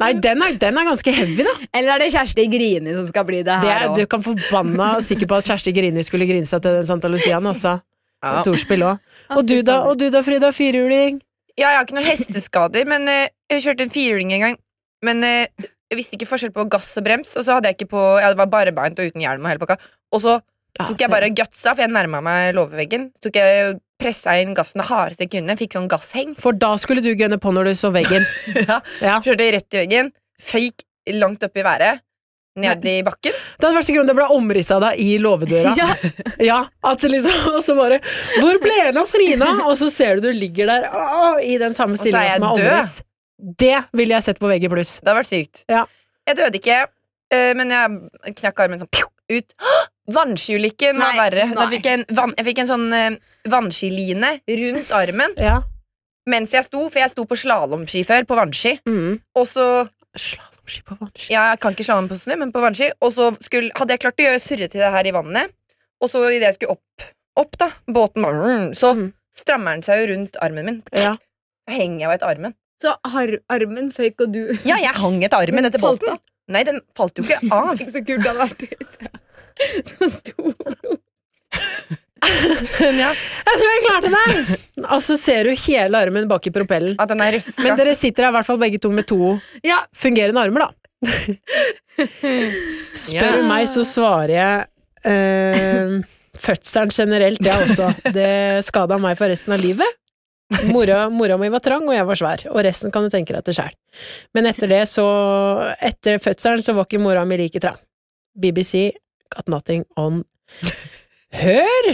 Nei, den er, den er ganske heavy, da.
Eller er det Kjersti Grini som skal bli det
Det
her
er,
òg?
du kan forbanna sikker på at Kjersti Grini skulle grine seg til den Santa Luciaen, altså. Og Torspill òg. Og du da, og du da, Frida? Firhjuling?
Ja, jeg har ikke noen hesteskader, men eh, jeg kjørte en firhjuling en gang. Men eh, jeg visste ikke forskjell på gass og brems, og så hadde jeg ikke på Ja, det var barbeint og uten hjelm og hele pakka. Og så
Ja,
tok jeg bare gutsa, for jeg nærma meg låveveggen. Så tok jeg pressa inn gassen det hardeste jeg kunne, fikk sånn gassheng.
For da skulle du gunne på når du så veggen.
Ja.
Ja.
Kjørte rett i veggen, føyk langt opp i været, ned i bakken.
Det var første grunn det ble omriss av deg i låvedøra.
Ja.
Ja, at det liksom, og så bare Hvor ble det av Frida? Og så ser du du ligger der å, i den samme
så er
stillingen
jeg
som er
død.
omriss. Det ville jeg sett på VG+.
Det hadde vært sykt.
Ja.
Jeg døde ikke, eh, men jeg knakk armen sånn pju, ut. Hå! Vannskiulykken var
Nei,
verre. Da
nei.
fikk jeg, en vann, jeg fikk en sånn eh, vannskiline rundt armen
Ja.
mens jeg sto, for jeg sto på slalåmski før, på vannski.
Mm.
Og så
Slalåmski på vannski.
ja, Jeg kan ikke slalåm på snø, men på vannski. Og så skulle, hadde jeg klart å gjøre surre til det her i vannet. Og så idet jeg skulle opp, opp da, båten, bare, så
Mm.
strammer den seg jo rundt armen min.
Ja.
Da henger jeg jo etter armen.
Så har armen føyk, og du
Ja, jeg hang etter armen etter
Falt
båten. Nei, den falt jo ikke
Ah.
av.
Tenk så kult det hadde vært hvis jeg så sto
ja.
Jeg tror jeg klarte det! Og så ser du hele armen bak i propellen.
At den er ruska.
Men dere sitter her i hvert fall begge to med to
Ja,
fungerende armer, da. Spør
Ja.
du meg, så svarer jeg eh, fødselen generelt, jeg også. Det skada meg for resten av livet. Mora, mora mi var trang, og jeg var svær, og resten kan du tenke deg til sjæl. Men etter det, så Etter fødselen så var ikke mora mi like trang. BBC got nothing on Hør!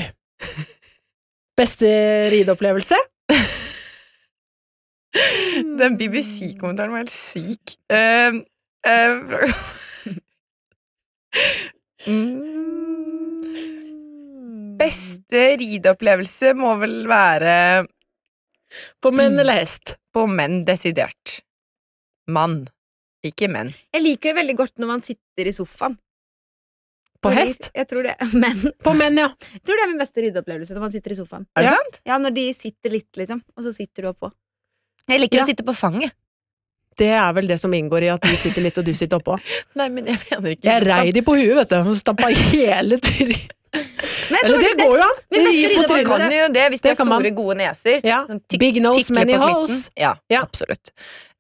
Beste rideopplevelse?
Den BBC-kommentaren var helt syk. Ehm, ehm, Mm. Beste rideopplevelse må vel være
På menn eller hest?
på menn, desidert. Mann, ikke menn.
jeg liker det veldig godt når man sitter i sofaen.
På
Når de-
hest?
Jeg tror det. Men
På menn, ja.
jeg tror det er min beste rideopplevelse når man sitter i sofaen.
Er det
ja.
sant?
Ja, når de sitter litt, liksom, og så sitter du oppå.
Jeg liker
Ja.
å sitte på fanget.
Det er vel det som inngår i at de sitter litt og du sitter oppå.
Nei, men jeg mener ikke
Jeg rei de på huet, vet du, og stappa hele trynet
Men jeg tror
Eller det
faktisk
går jo an!
Vi best
rir
rydder
på
på
Man kan
trynet.
jo det hvis de
Det
har
kan man.
store, gode neser.
Ja.
tikk-
Big nose,
tikler
many
på klitten.
holes.
Ja,
Ja.
absolutt.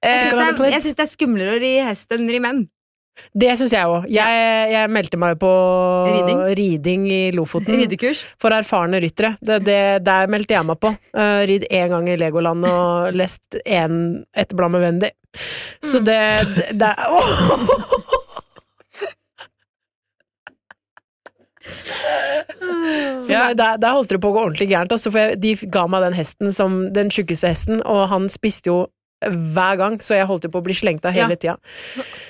Jeg
Eh,
Skal det
syns det,
være
er-
litt-
jeg syns det er skumlere å ri hest enn ri menn.
Det syns jeg òg. Jeg, jeg meldte meg på riding,
Riding.
i Lofoten.
Ridekurs.
For erfarne ryttere. Det, det, der meldte jeg meg på. Eh, ridd én gang i Legoland og lest en, et blad med Wendy. Så det, det, det Så
Ja.
nei, der, der holdt det på å gå ordentlig gærent. Altså, for jeg, de ga meg den hesten som den tjukkeste hesten, og han spiste jo hver gang, så jeg holdt jo på å bli slengt av hele tida.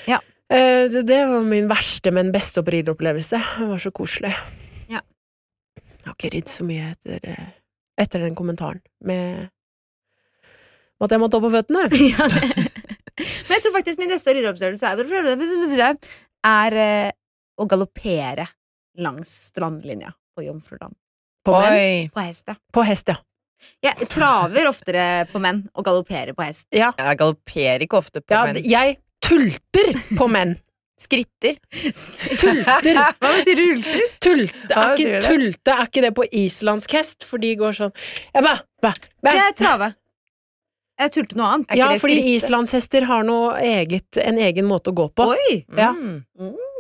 Ja.
Eh, så det var min verste, men beste opp- rideopplevelse. Det var så koselig.
Ja.
Jeg har ikke ridd så mye etter, eh, etter den kommentaren med om at jeg måtte opp på føttene.
Ja, det- Men jeg tror faktisk min neste ryddeopplevelse er, hvorfor er, det- hvorfor er, det- er eh, å galoppere langs strandlinja på Jomfrudam.
På, menn.
oi.
På hest, ja.
på hest, ja.
Jeg traver oftere på menn og galopperer på hest.
Ja,
Jeg galopperer ikke ofte på
ja
menn.
jeg tulter på menn.
Skritter.
Tulter!
Hva betyr hulter?
Tulte er,
Ja, det
ikke,
gjør det.
tulte er ikke det på islandsk hest, for de går sånn jeg ba, ba, ba.
Det er trave. Jeg tulte noe annet.
Er ikke
Ja,
det
fordi
skritte?
islandshester har noe eget, en egen måte å gå på.
Oi!
Ja.
Mm.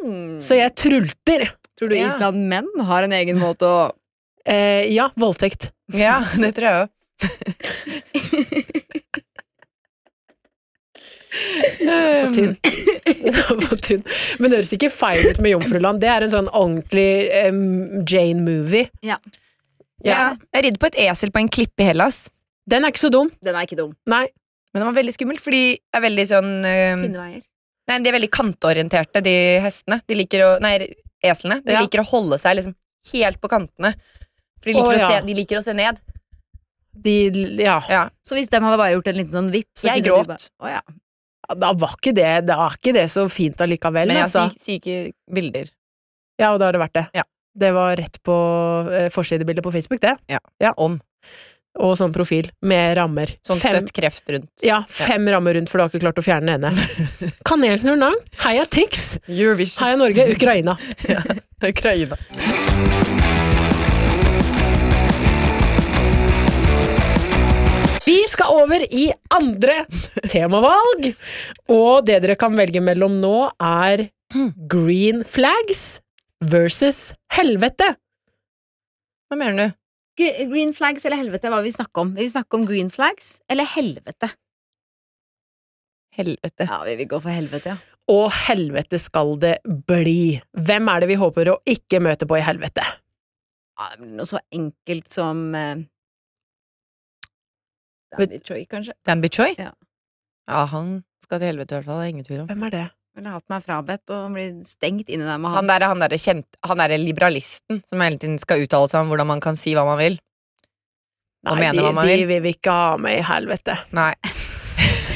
Mm.
Så jeg trulter.
Tror du
Ja.
Island menn har en egen måte å
Eh, ja, voldtekt.
ja, det tror jeg òg.
På
Um. Ehm,
tynn. På tynn. Men det høres ikke feil ut med Jomfruland. Det er en sånn ordentlig em, Jane-movie.
Ja.
Ja.
Ja.
Jeg ridde på et esel på en klippe i Hellas.
Den er ikke så dum.
Den er ikke dum.
Nei.
Men det var veldig skummelt, for de er veldig sånn eh,
Tynne veier.
Nei, de er veldig kantorienterte, de hestene. De liker å Nei, eslene. De
Ja.
liker å holde seg liksom helt på kantene. For de liker,
Å,
å,
ja.
se, de liker å se ned.
De, ja.
Ja.
Så hvis de hadde bare gjort en liten sånn vipp så
Jeg
kunne du
gråt.
bare- Å, ja.
Da var ikke det, da er ikke det så fint allikevel,
Men jeg
altså.
har syk, syke bilder.
Ja, og da har det vært det.
Ja.
Det var rett på eh, forsidebildet på Facebook, det.
Om
Og sånn profil med rammer.
sånn
Fem-
støtt kreft rundt.
Ja, fem rammer rundt, for du har ikke klart å fjerne den ene. Kanelsnurr Nang, heia Tix!
Eurovision.
Heia Norge, Ukraina.
Ukraina.
Vi skal over i andre temavalg, og det dere kan velge mellom nå, er green flags versus helvete.
Hva mener du?
G- Green flags eller helvete, hva vil vi snakke om? Vil vi snakke om green flags eller helvete?
Helvete.
Ja, vi vil gå for helvete, ja.
Og helvete skal det bli. Hvem er det vi håper å ikke møte på i helvete?
ja det blir noe så enkelt som eh,
Vet-
Danny Choi, kanskje.
Dan Bichoy?
Ja.
ja, han skal til helvete i hvert fall. Det er ingen tvil om.
Hvem er det?
Ville hatt meg frabedt og blir stengt inne der med
Han
han.
derre han der kjent, han derre liberalisten som hele tiden skal uttale seg om hvordan man kan si hva man vil. Og
Nei,
mene
de,
hva man
de
vil.
vil vi ikke ha med i helvete.
Nei.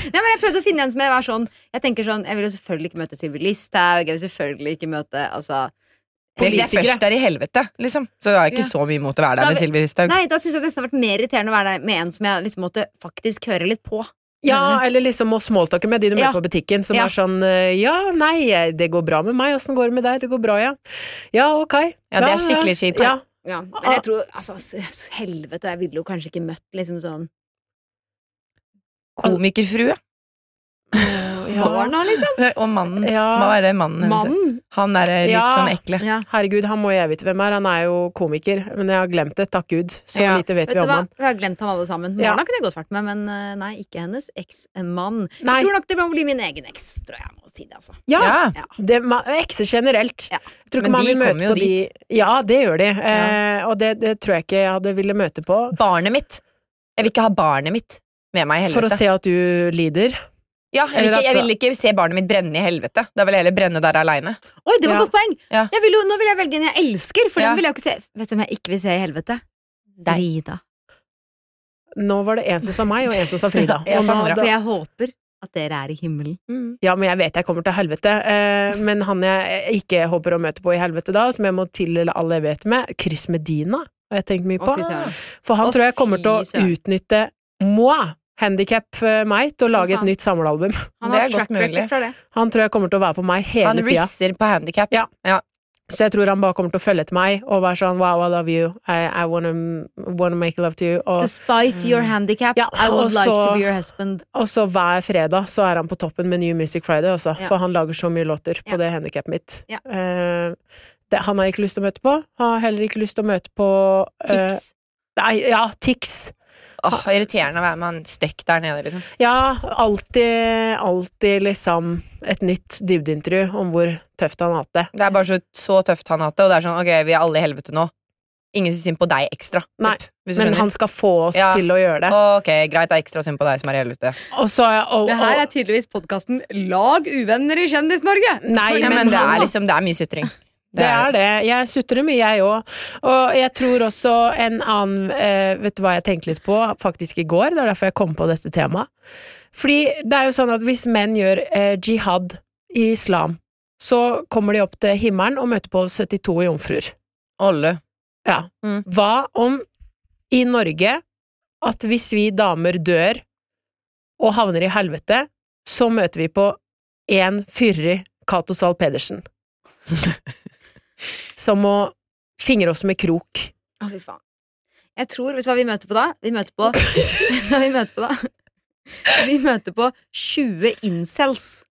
Nei, men jeg prøvde å finne en som jeg var sånn Jeg tenker sånn, jeg vil jo selvfølgelig ikke møte Sylvi Listhaug, jeg vil selvfølgelig ikke møte altså
Hvis jeg
Politikere.
først er i helvete, liksom, så har jeg ikke
Ja.
så mye imot å være der
Da
med
vi-
Sylvi Listhaug.
Nei, da syns jeg nesten det har vært mer irriterende å være der med en som jeg liksom måtte faktisk høre litt på.
Ja, eller liksom å smalltalke med de du møter
Ja.
på butikken, som
Ja.
er sånn eh, Ja, nei, eh, det går bra med meg. Åssen går det med deg? Det går bra, ja. Ja, ok.
Ja, det er skikkelig kjipt.
Ja.
Ja, men jeg tror altså, s- helvete, jeg ville jo kanskje ikke møtt liksom sånn
altså- Komikerfrue.
Barna, liksom.
Og mannen.
Ja.
Hva er det mannen hennes?
Mannen.
Han der er litt
Ja.
sånn ekle.
Ja.
Herregud, han må jeg vite hvem er. Han er jo komiker, men jeg har glemt det. Takk Gud. Så
Ja.
lite vet,
Vet
vi
du
om
hva?
han.
Vi har glemt han alle sammen.
Ja.
Barna kunne jeg godt vært med, men eh, nei, ikke hennes eksmann.
Nei.
Jeg tror nok det må bli min egen eks, tror jeg jeg må si det, altså.
Ja!
Ja.
Ja.
Det, ma- ekser generelt.
Ja.
Jeg tror ikke
Men
man
de
vil møte
kommer jo
på de- Ja, det gjør de. Eh, og det, det tror jeg ikke jeg hadde ville møte på.
Barnet mitt. Jeg vil ikke ha barnet mitt med meg i
For å
helvete.
se at du lider.
Ja, jeg, vil
Eller
ikke,
at-
jeg vil ikke se barnet mitt brenne i helvete. Da vil jeg heller brenne der aleine.
Oi, det var et
Ja.
godt poeng!
Ja.
Jeg vil jo, nå vil jeg velge en jeg elsker, for
Ja.
den vil jeg jo ikke se Vet du hvem jeg ikke vil se i helvete?
Deg.
Frida.
Nå var det en som sa meg, og en som sa Frida.
Ja,
Og nå-
faen, bra.
For jeg håper at dere er i himmelen.
Mm.
Ja, men jeg vet jeg kommer til helvete. Eh, men han jeg ikke håper å møte på i helvete da, som jeg må til alle jeg vet med, Chris Medina, har jeg tenkt mye
Å,
på.
fy søren.
For han
Å,
tror jeg kommer til å
fy søren.
utnytte moi, handikap meg, til å
Som
lage
faen.
et nytt samlealbum.
Han
Det
har
er godt
track record
mulig.
fra det.
Han tror jeg kommer til å være på meg
Han
hele tida.
risser på handikap.
Ja. Så jeg tror han bare kommer til å følge etter meg og være sånn wow, I love you, I, I wanna, wanna make love to you. Og,
Despite your handicap,
Ja,
I
og
would like
så-
to be your husband.
og så hver fredag så er han på toppen med New Music Friday, altså.
Ja.
For han lager så mye låter på
Ja.
det handikappet mitt.
Ja.
Eh, det, han har ikke lyst til å møte på. Han har heller ikke lyst til å møte på eh,
Tics.
Nei, ja, Tix.
Åh, Irriterende å være med han støkk der nede. liksom
Ja, alltid, alltid liksom et nytt dybdeintervju om hvor tøft han har hatt det.
Det er bare så, så tøft han har hatt det. Og det er sånn, ok, vi er alle i helvete nå. Ingen syns synd på deg ekstra. typ,
Nei,
hvis du
Men
skjønner.
han skal få oss
Ja.
til å gjøre det.
Ok, greit, det er ekstra synd på deg som er i helvete.
Og så er jeg og,
Det her er
og,
tydeligvis podkasten Lag uvenner i Kjendis-Norge!
Nei,
Ja,
men
men det
han-
er liksom, det er mye sutring.
det er det. Jeg sutrer mye, jeg òg. Og jeg tror også en annen eh, Vet du hva jeg tenkte litt på faktisk i går? Det er derfor jeg kom på dette temaet. Fordi det er jo sånn at hvis menn gjør eh, jihad i islam, så kommer de opp til himmelen og møter på 72 jomfruer.
Olle.
Ja.
Mm.
Hva om i Norge at hvis vi damer dør og havner i helvete, så møter vi på én fyrig Cato Zahl Pedersen som må fingre oss med krok.
Å, fy faen. Jeg tror, Vet du hva vi møter på da? Vi møter på Vet du hva vi møter på da? Vi møter på 20 incels.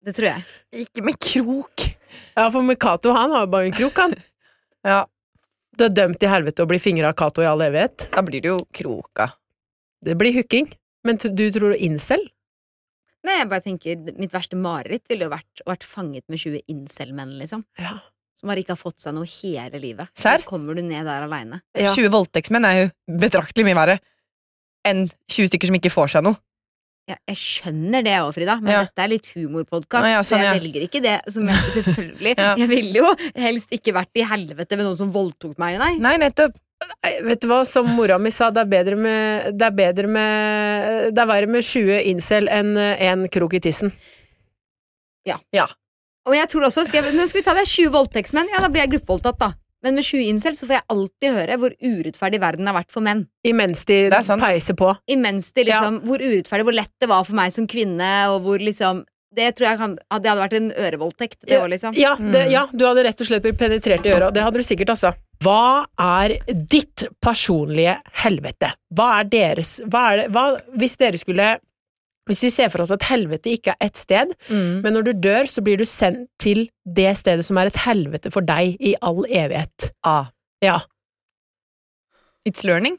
Det tror jeg.
Ikke med krok.
Ja, for med Cato, han har jo bare en krok, han.
Ja,
Du er dømt i helvete å bli fingra av Cato i all evighet.
da blir det jo kroka.
Det blir hooking. Men t- du tror incel?
Nei, jeg bare tenker Mitt verste mareritt ville jo vært å vært fanget med 20 incel-menn, liksom.
Ja.
Som bare ikke har fått seg noe hele livet.
Serr?
Så kommer du ned der aleine.
Ja.
20 voldtektsmenn er jo betraktelig mye verre enn 20 stykker som ikke får seg noe.
Ja, jeg skjønner det òg, Frida, men
Ja.
dette er litt humorpodkast,
Å, ja,
så
sånn,
jeg
ja.
velger ikke det. Som jeg, selvfølgelig.
Ja.
Jeg ville jo helst ikke vært i helvete med noen som voldtok meg, nei.
Nei, nettopp.
Nei, Vet du hva, som mora mi sa, det er bedre med Det er, bedre med, det er verre med 20 incel enn én krok i tissen.
Og jeg tror også, skal jeg, nå skal vi ta det, 20 voldtektsmenn, ja da blir jeg gruppevoldtatt da. Men med 20 incel så får jeg alltid høre hvor urettferdig verden har vært for menn.
Imens de
Det er sant.
peiser på.
Imens det liksom, hvor urettferdig, hvor lett det var for meg som kvinne, og hvor liksom, det tror jeg kan, det hadde vært en ørevoldtekt det år liksom.
Ja,
Mm.
det, ja, du hadde rett og slett blitt penetrert i øra. Det hadde du sikkert, altså. Hva er ditt personlige helvete? Hva er deres hva er det, hva, Hvis dere skulle Hvis vi ser for oss at helvete ikke er ett sted,
Mm.
men når du dør, så blir du sendt til det stedet som er et helvete for deg i all evighet.
Ah,
Ja.
it's learning.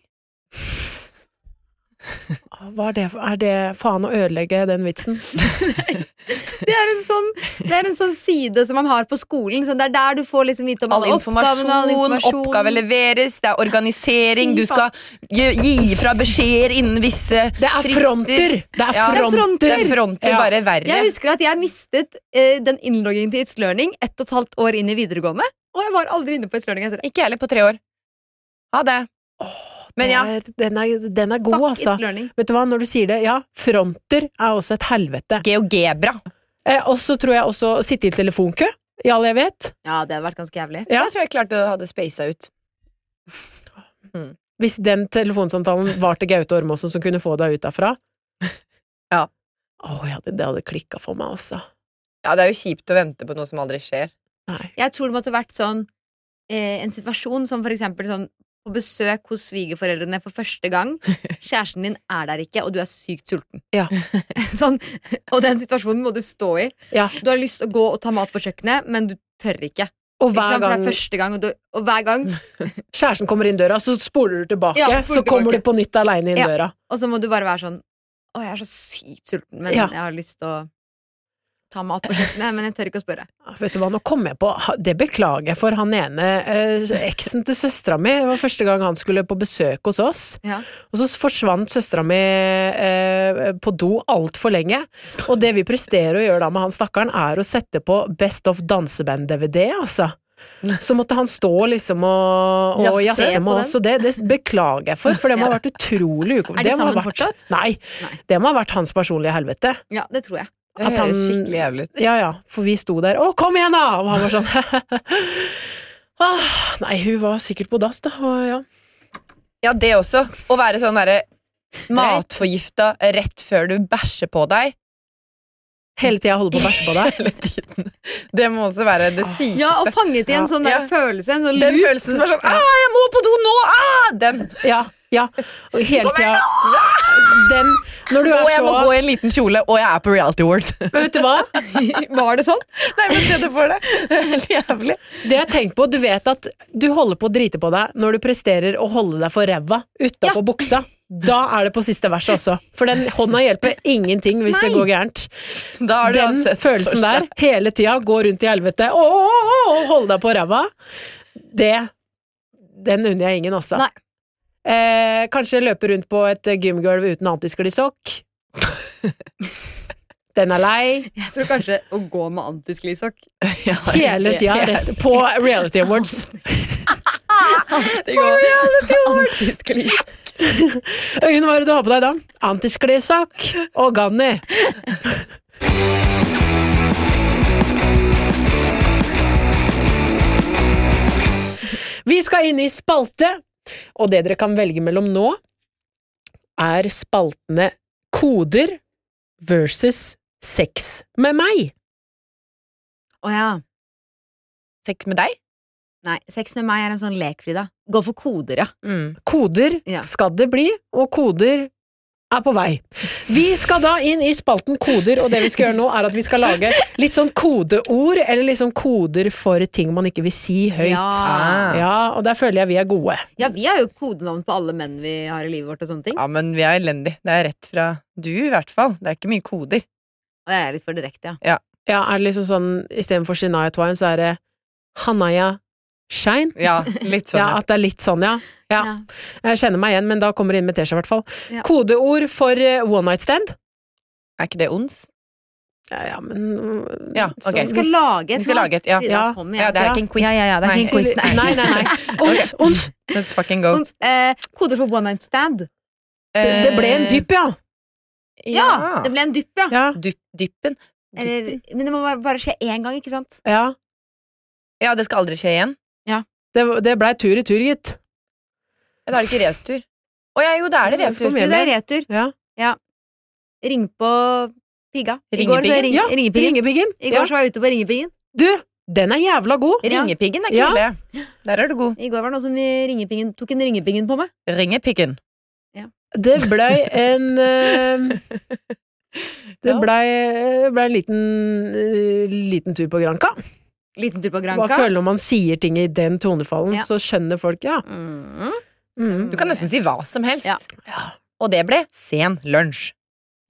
Hva er det for Er det faen å ødelegge den vitsen?
Det er, en sånn, det er en sånn side som man har på skolen, så det er der du får liksom vite om
All
alle
informasjon,
oppgavene, all informasjon.
oppgave leveres, det er organisering,
Fy
du skal gi, gi fra beskjeder innen visse
Det er
frister.
fronter! Det er
Ja.
Det er
fronter!
Det er fronter,
Ja.
bare verre.
Jeg husker at jeg mistet eh, den innloggingen til It's Learning ett og et halvt år inn i videregående, og jeg var aldri inne på It's Learning etter det.
Ikke jeg heller, på tre år. Ha det. Men ja,
Det er- Den er, den er god,
Fuck
altså.
It's Learning.
Vet du hva, når du sier det, ja, fronter er også et helvete.
GeoGebra.
Eh, og så tror jeg også å sitte i telefonkø i all evighet.
Ja, det hadde vært ganske jævlig.
Ja.
Jeg tror jeg klarte å ha det spasa ut.
Hvis den telefonsamtalen var til Gaute Ormåsen som kunne få deg ut derfra.
Ja.
Å ja, det, det hadde klikka for meg altså. også.
Ja, det er jo kjipt å vente på noe som aldri skjer.
Nei.
Jeg tror det måtte vært sånn eh, en situasjon som for eksempel sånn på besøk hos svigerforeldrene for første gang. Kjæresten din er der ikke, og du er sykt sulten.
Ja.
Sånn, og den situasjonen må du stå i.
Ja.
Du har lyst til å gå og ta mat på kjøkkenet, men du tør ikke.
Og hver
ikke sant? For det
gang
er første gang, Mm. og, du, og hver gang,
kjæresten kommer inn døra, så spoler du tilbake,
Ja, spoler
så kommer
tilbake.
du på nytt aleine inn
Ja.
døra.
og så må du bare være sånn Å, jeg er så sykt sulten, men
Ja.
jeg har lyst til å ta mat på kjøkkenet, men jeg tør ikke å spørre.
Ah, Vet du hva, nå kom jeg på, ha- det beklager jeg for han ene eh, eksen til søstera mi. Det var første gang han skulle på besøk hos oss.
Ja.
Og så forsvant søstera mi eh, på do altfor lenge. Og det vi presterer å gjøre da med han stakkaren, er å sette på Best of danseband-DVD, altså. Så måtte han stå liksom og, og
Jazze
jazze
på
med
den.
oss, og det, det beklager jeg for, for det må ha vært utrolig ukomfortabelt.
Er de
Det må ha
sammen
vært-
fortsatt?
Nei.
Nei.
Det må ha vært hans personlige helvete.
Ja, det tror jeg.
At
Det
han-
høres skikkelig jævlig ut.
Ja, ja, for vi sto der. Å, kom igjen, da! Og han var sånn ah, Nei, hun var sikkert på dass, da. Og, ja.
Ja, det også. Å være sånn derre matforgifta rett før du bæsjer på deg.
Hele tida holder på å bæsje på deg.
Hele tiden. Det må også være det sykeste.
Ja, og fanget i en sånn der
Ja.
følelse. En sånn
Den
loop.
følelsen som er sånn ah, 'Jeg må på do nå!' Ah, den.
Ja, ja. Og hele tida Den Når du er
Og jeg må gå
så
i en liten kjole, og jeg er på Reality Awards.
Men Vet du hva?
Var det sånn?
Nei, men se det for deg. Det er Helt jævlig.
Det jeg tenker på, du vet at du holder på å drite på deg når du presterer å holde deg for ræva utapå buksa. Da er det på siste verset også. For den hånda hjelper ingenting hvis det går gærent.
Da har du
den
uansett for
følelsen der,
seg.
hele tida, gå rundt i helvete Å, å, å, å, holde deg på ræva, det Den unner jeg ingen, altså.
Nei.
Eh, kanskje løpe rundt på et gymgulv uten antisklissokk. Den er lei.
Jeg tror kanskje å gå med antisklissokk.
Ja,
Hele tida
liksom.
rest, på Reality Awards.
På Reality Awards! Antisklis.
Øyunn, hva er det du har på deg da? Antisklissokk og Ganni. Vi skal inn i spalte, og det dere kan velge mellom nå, er spaltene koder versus sex med meg.
Å ja.
Sex med deg?
Nei, sex med meg er en sånn lek, Frida. Gå for koder, ja.
Mm.
Koder
Ja.
skal det bli, og koder er på vei. Vi skal da inn i spalten koder, og det vi skal gjøre nå, er at vi skal lage litt sånn kodeord, eller liksom koder for ting man ikke vil si høyt.
Ja.
Ja, og der føler jeg vi er gode.
Ja, vi har jo kodenavn på alle menn vi har i livet vårt og sånne ting.
Ja, men vi er elendige. Det er rett fra du, i hvert fall. Det er ikke mye koder.
Og jeg er litt for direkte, ja.
Ja, er det liksom sånn istedenfor Shania Twine, så er det Hanaya Shine?
Ja, litt sånn.
Ja, at det er litt sånn, ja. ja.
Ja.
Jeg kjenner meg igjen, men da kommer det inn med tesja, i hvert fall.
Ja.
Kodeord for eh, one night stand.
Er ikke det ons?
Ja, ja, men
Ja,
så-
ok.
Vi skal lage et
Vi skal lage et, ja.
Frida,
Ja.
kom
Ja,
igjen.
det er ikke en quiz.
Ja, ja, ja, det er ikke en quiz, nei.
Nei, nei, nei. Ons, ons.
Let's fucking go.
Ons- eh, koder for one night stand.
Det, det ble
Eh,
en dypp, ja.
Ja, det ble en dupp, ja.
Eh, Ja.
Dypp, dyppen.
Eller, men det må bare, bare skje én gang, ikke sant?
ja.
Ja, det skal aldri skje igjen.
Det, det blei tur i tur, gitt.
Ja, Da er det ikke retur. Å ja, jo, da er det
Ja, det
retur.
kom
Du,
igjen.
det er retur.
Ja.
Ring på pigga. I går, så
Ringepiggen?
ring,
Ja,
ringepiggen.
Ringepiggen.
I
Ja.
går så var jeg ute på ringepiggen.
Du, den er jævla god!
Ringepiggen er
Ja.
kul, det. Der er du god.
I går var det noen som i ringepiggen, tok en ringepiggen på meg.
Ringepiggen.
Det blei en eh, Det
Ja.
blei ble en liten, eh, liten tur på Granca.
Liten tur på
Hva
Granca.
føler når man sier ting i den tonefallen,
Ja.
så skjønner folk ja.
Mm.
Mm.
Du kan nesten si hva som helst.
Ja.
Og det ble sen lunsj.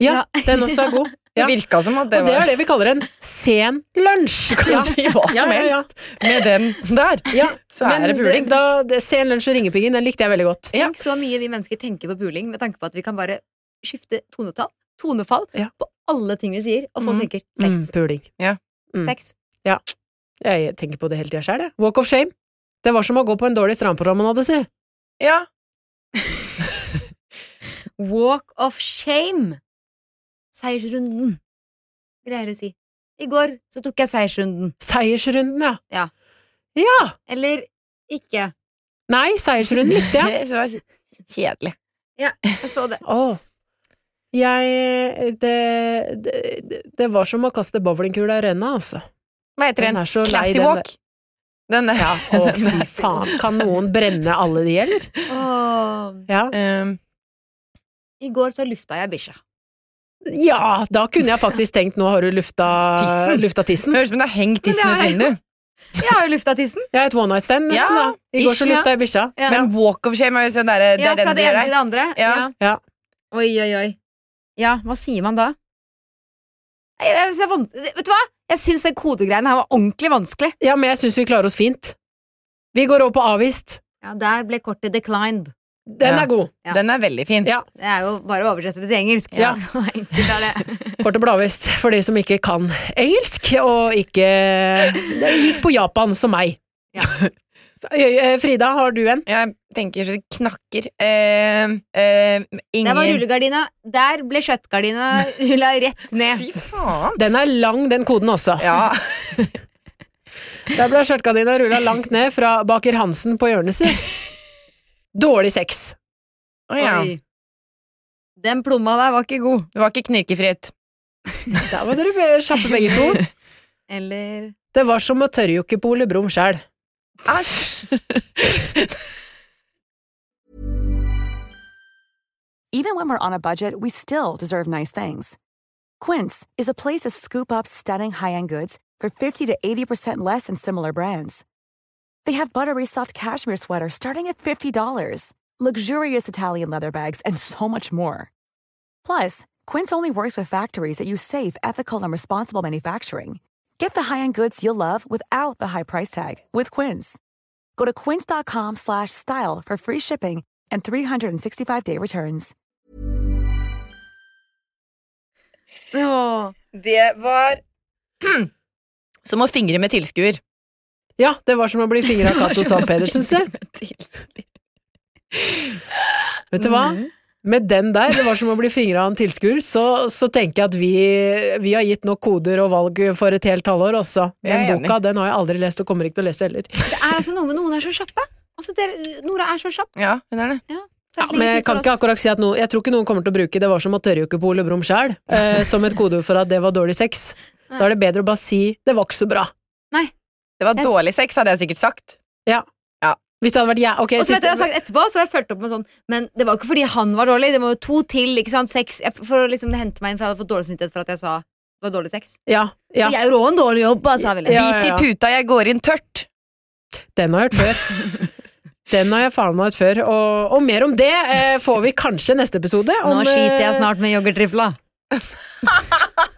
Ja, den også er god.
Det
Ja.
virka som at det
Og det
var
er det vi kaller en sen lunsj.
Du kan si hva som
ja, ja.
helst med den der.
Ja.
Så er
Men
det puling.
det- Da, det, sen lunsj og ringepiggen, den likte jeg veldig godt.
Ja.
Tenk så mye vi mennesker tenker på puling, med tanke på at vi kan bare skifte tonetall, tonefall,
Ja.
på alle ting vi sier, og folk
Mm.
tenker sex,
Mm, puling. mm.
sex.
Jeg tenker på det hele tida sjøl, jeg. Walk of shame. Det var som å gå på en dårlig strandpromenade, si.
Ja.
Walk of shame. Seiersrunden, greier å si. I går så tok jeg seiersrunden.
Seiersrunden, ja.
Ja.
Ja!
Eller ikke.
Nei, seiersrunden likte jeg.
Det var kjedelig.
Jeg så det.
Å. Jeg det, det, det var som å kaste bowlingkula i renna, altså.
Hva heter
Den
den?
er så lei,
Classy
den
walk. Den er
Ja, å fy faen. Kan noen brenne alle de, eller?
Åh.
Ja.
Um,
I går så lufta jeg bikkja.
ja, da kunne jeg faktisk tenkt nå har du lufta
Tissen.
lufta tissen.
Høres ut som du har hengt tissen
Men
ut
det er-
vinduet.
Jeg har jo lufta tissen.
Jeg er et one night stand, nesten.
Ja,
da. I går så
ish, ja.
lufta jeg bikkja.
Ja.
Men walk of shame er jo sånn derre Det
Ja,
er
fra
den du
det
gjør
ene til
her.
det andre.
Ja.
Ja.
Oi, oi, oi. Ja, hva sier man da? Nei, Jeg, synes det er vans- vet du hva? Jeg syns den kodegreiene her var ordentlig vanskelig.
Ja, men jeg syns vi klarer oss fint. Vi går over på avvist.
Ja, Der ble kortet declined.
Den
Ja.
er god.
Ja.
Den er veldig fin.
Ja.
Det er jo bare å oversette det til engelsk.
Ja.
Så enkelt er det.
Kort og bladvist for de som ikke kan engelsk, og ikke det gikk på Japan som meg.
Ja.
Øy- øy, Frida, har du en?
Jeg tenker så det knakker. Eh, eh,
Der var
Inger
rullegardina. Der ble skjøttgardina rulla rett ned.
Fy faen!
Den er lang, den koden også.
Ja.
Der ble skjørtgardina rulla langt ned fra baker Hansen på hjørnet si. Dårlig sex.
Å ja.
Oi. Den plomma der var ikke god.
Det var ikke knirkefritt.
Der var dere be- kjappe begge to.
Eller
Det var som å tørrjokke på Ole Brumm sjæl.
Æsj!
Even when we're on a budget, we still deserve nice things. Quince is a place to scoop up stunning high-end goods for 50 to 80% less than similar brands. They have buttery soft cashmere sweaters starting at $50, luxurious Italian leather bags, and so much more. Plus, Quince only works with factories that use safe, ethical, and responsible manufacturing. Get the high-end goods you'll love without the high price tag with Quince. Go to quince.com/style slash style for free shipping and 365-day returns.
Åh.
Det var Som å fingre med tilskuer.
Ja, det var som å bli fingra av Cato Zahl Pedersen, se. Vet du hva? Med den der, det var som å bli fingra av en tilskuer, så, så tenker jeg at vi, vi har gitt nok koder og valg for et helt halvår også. Den
Jeg er enig.
boka den har jeg aldri lest og kommer ikke til å lese heller.
Det er altså noe med noen er så kjappe. Altså, dere- Nora er så kjapp.
Ja, hun er det.
Så
Ja,
det er
men
lenge
jeg
til
kan ikke
oss.
akkurat si at noen, jeg tror ikke noen kommer til å bruke 'det var som å tørrjukke på Ole Brumm sjæl' eh, som et kodeord for at det var dårlig sex. Da er det bedre å bare si 'det var ikke så bra'.
Det var dårlig sex, hadde jeg sikkert sagt.
Hvis det hadde vært jeg, ok,
Og så vet
siste-
jeg, jeg har sagt etterpå, så har jeg fulgt opp med sånn Men det var jo ikke fordi han var dårlig, det var jo to til, ikke sant, seks jeg, For å liksom hente meg inn, for jeg hadde fått dårlig samvittighet for at jeg sa det var dårlig sex.
ja,
Så
ja,
jeg rå en dårlig jobb, altså. Vil jeg.
Ja,
si.
ja,
Bit i
ja.
puta, jeg går inn tørt.
Den har jeg hørt før. Den har jeg faen meg hørt før. Og, og mer om det eh, får vi kanskje neste episode. Om,
Nå skiter jeg
eh,
snart med yoghurtrifla.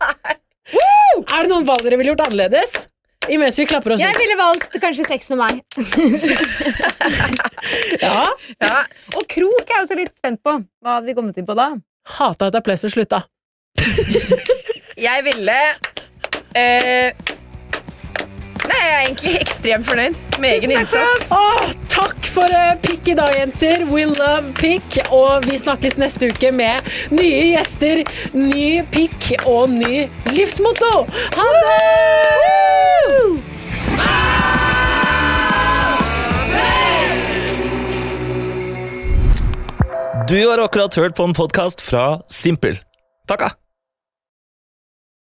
Er det noen valg dere ville gjort annerledes? Imens vi klapper oss
Jeg
ut.
ville valgt kanskje sex med meg.
Ja.
Ja.
Og krok er jeg også litt spent på. Hva hadde vi kommet til på da?
Hata at applausen slutta.
Jeg ville eh, Nei, jeg er egentlig ekstremt fornøyd med egen
Tusen takk for
innsats.
Åh, takk for eh, pikk i dag, jenter. We love pikk. Og vi snakkes neste uke med nye gjester, ny pikk og ny livsmotto. Ha det!
Du har akkurat hørt på en podkast fra Simpel. Takka!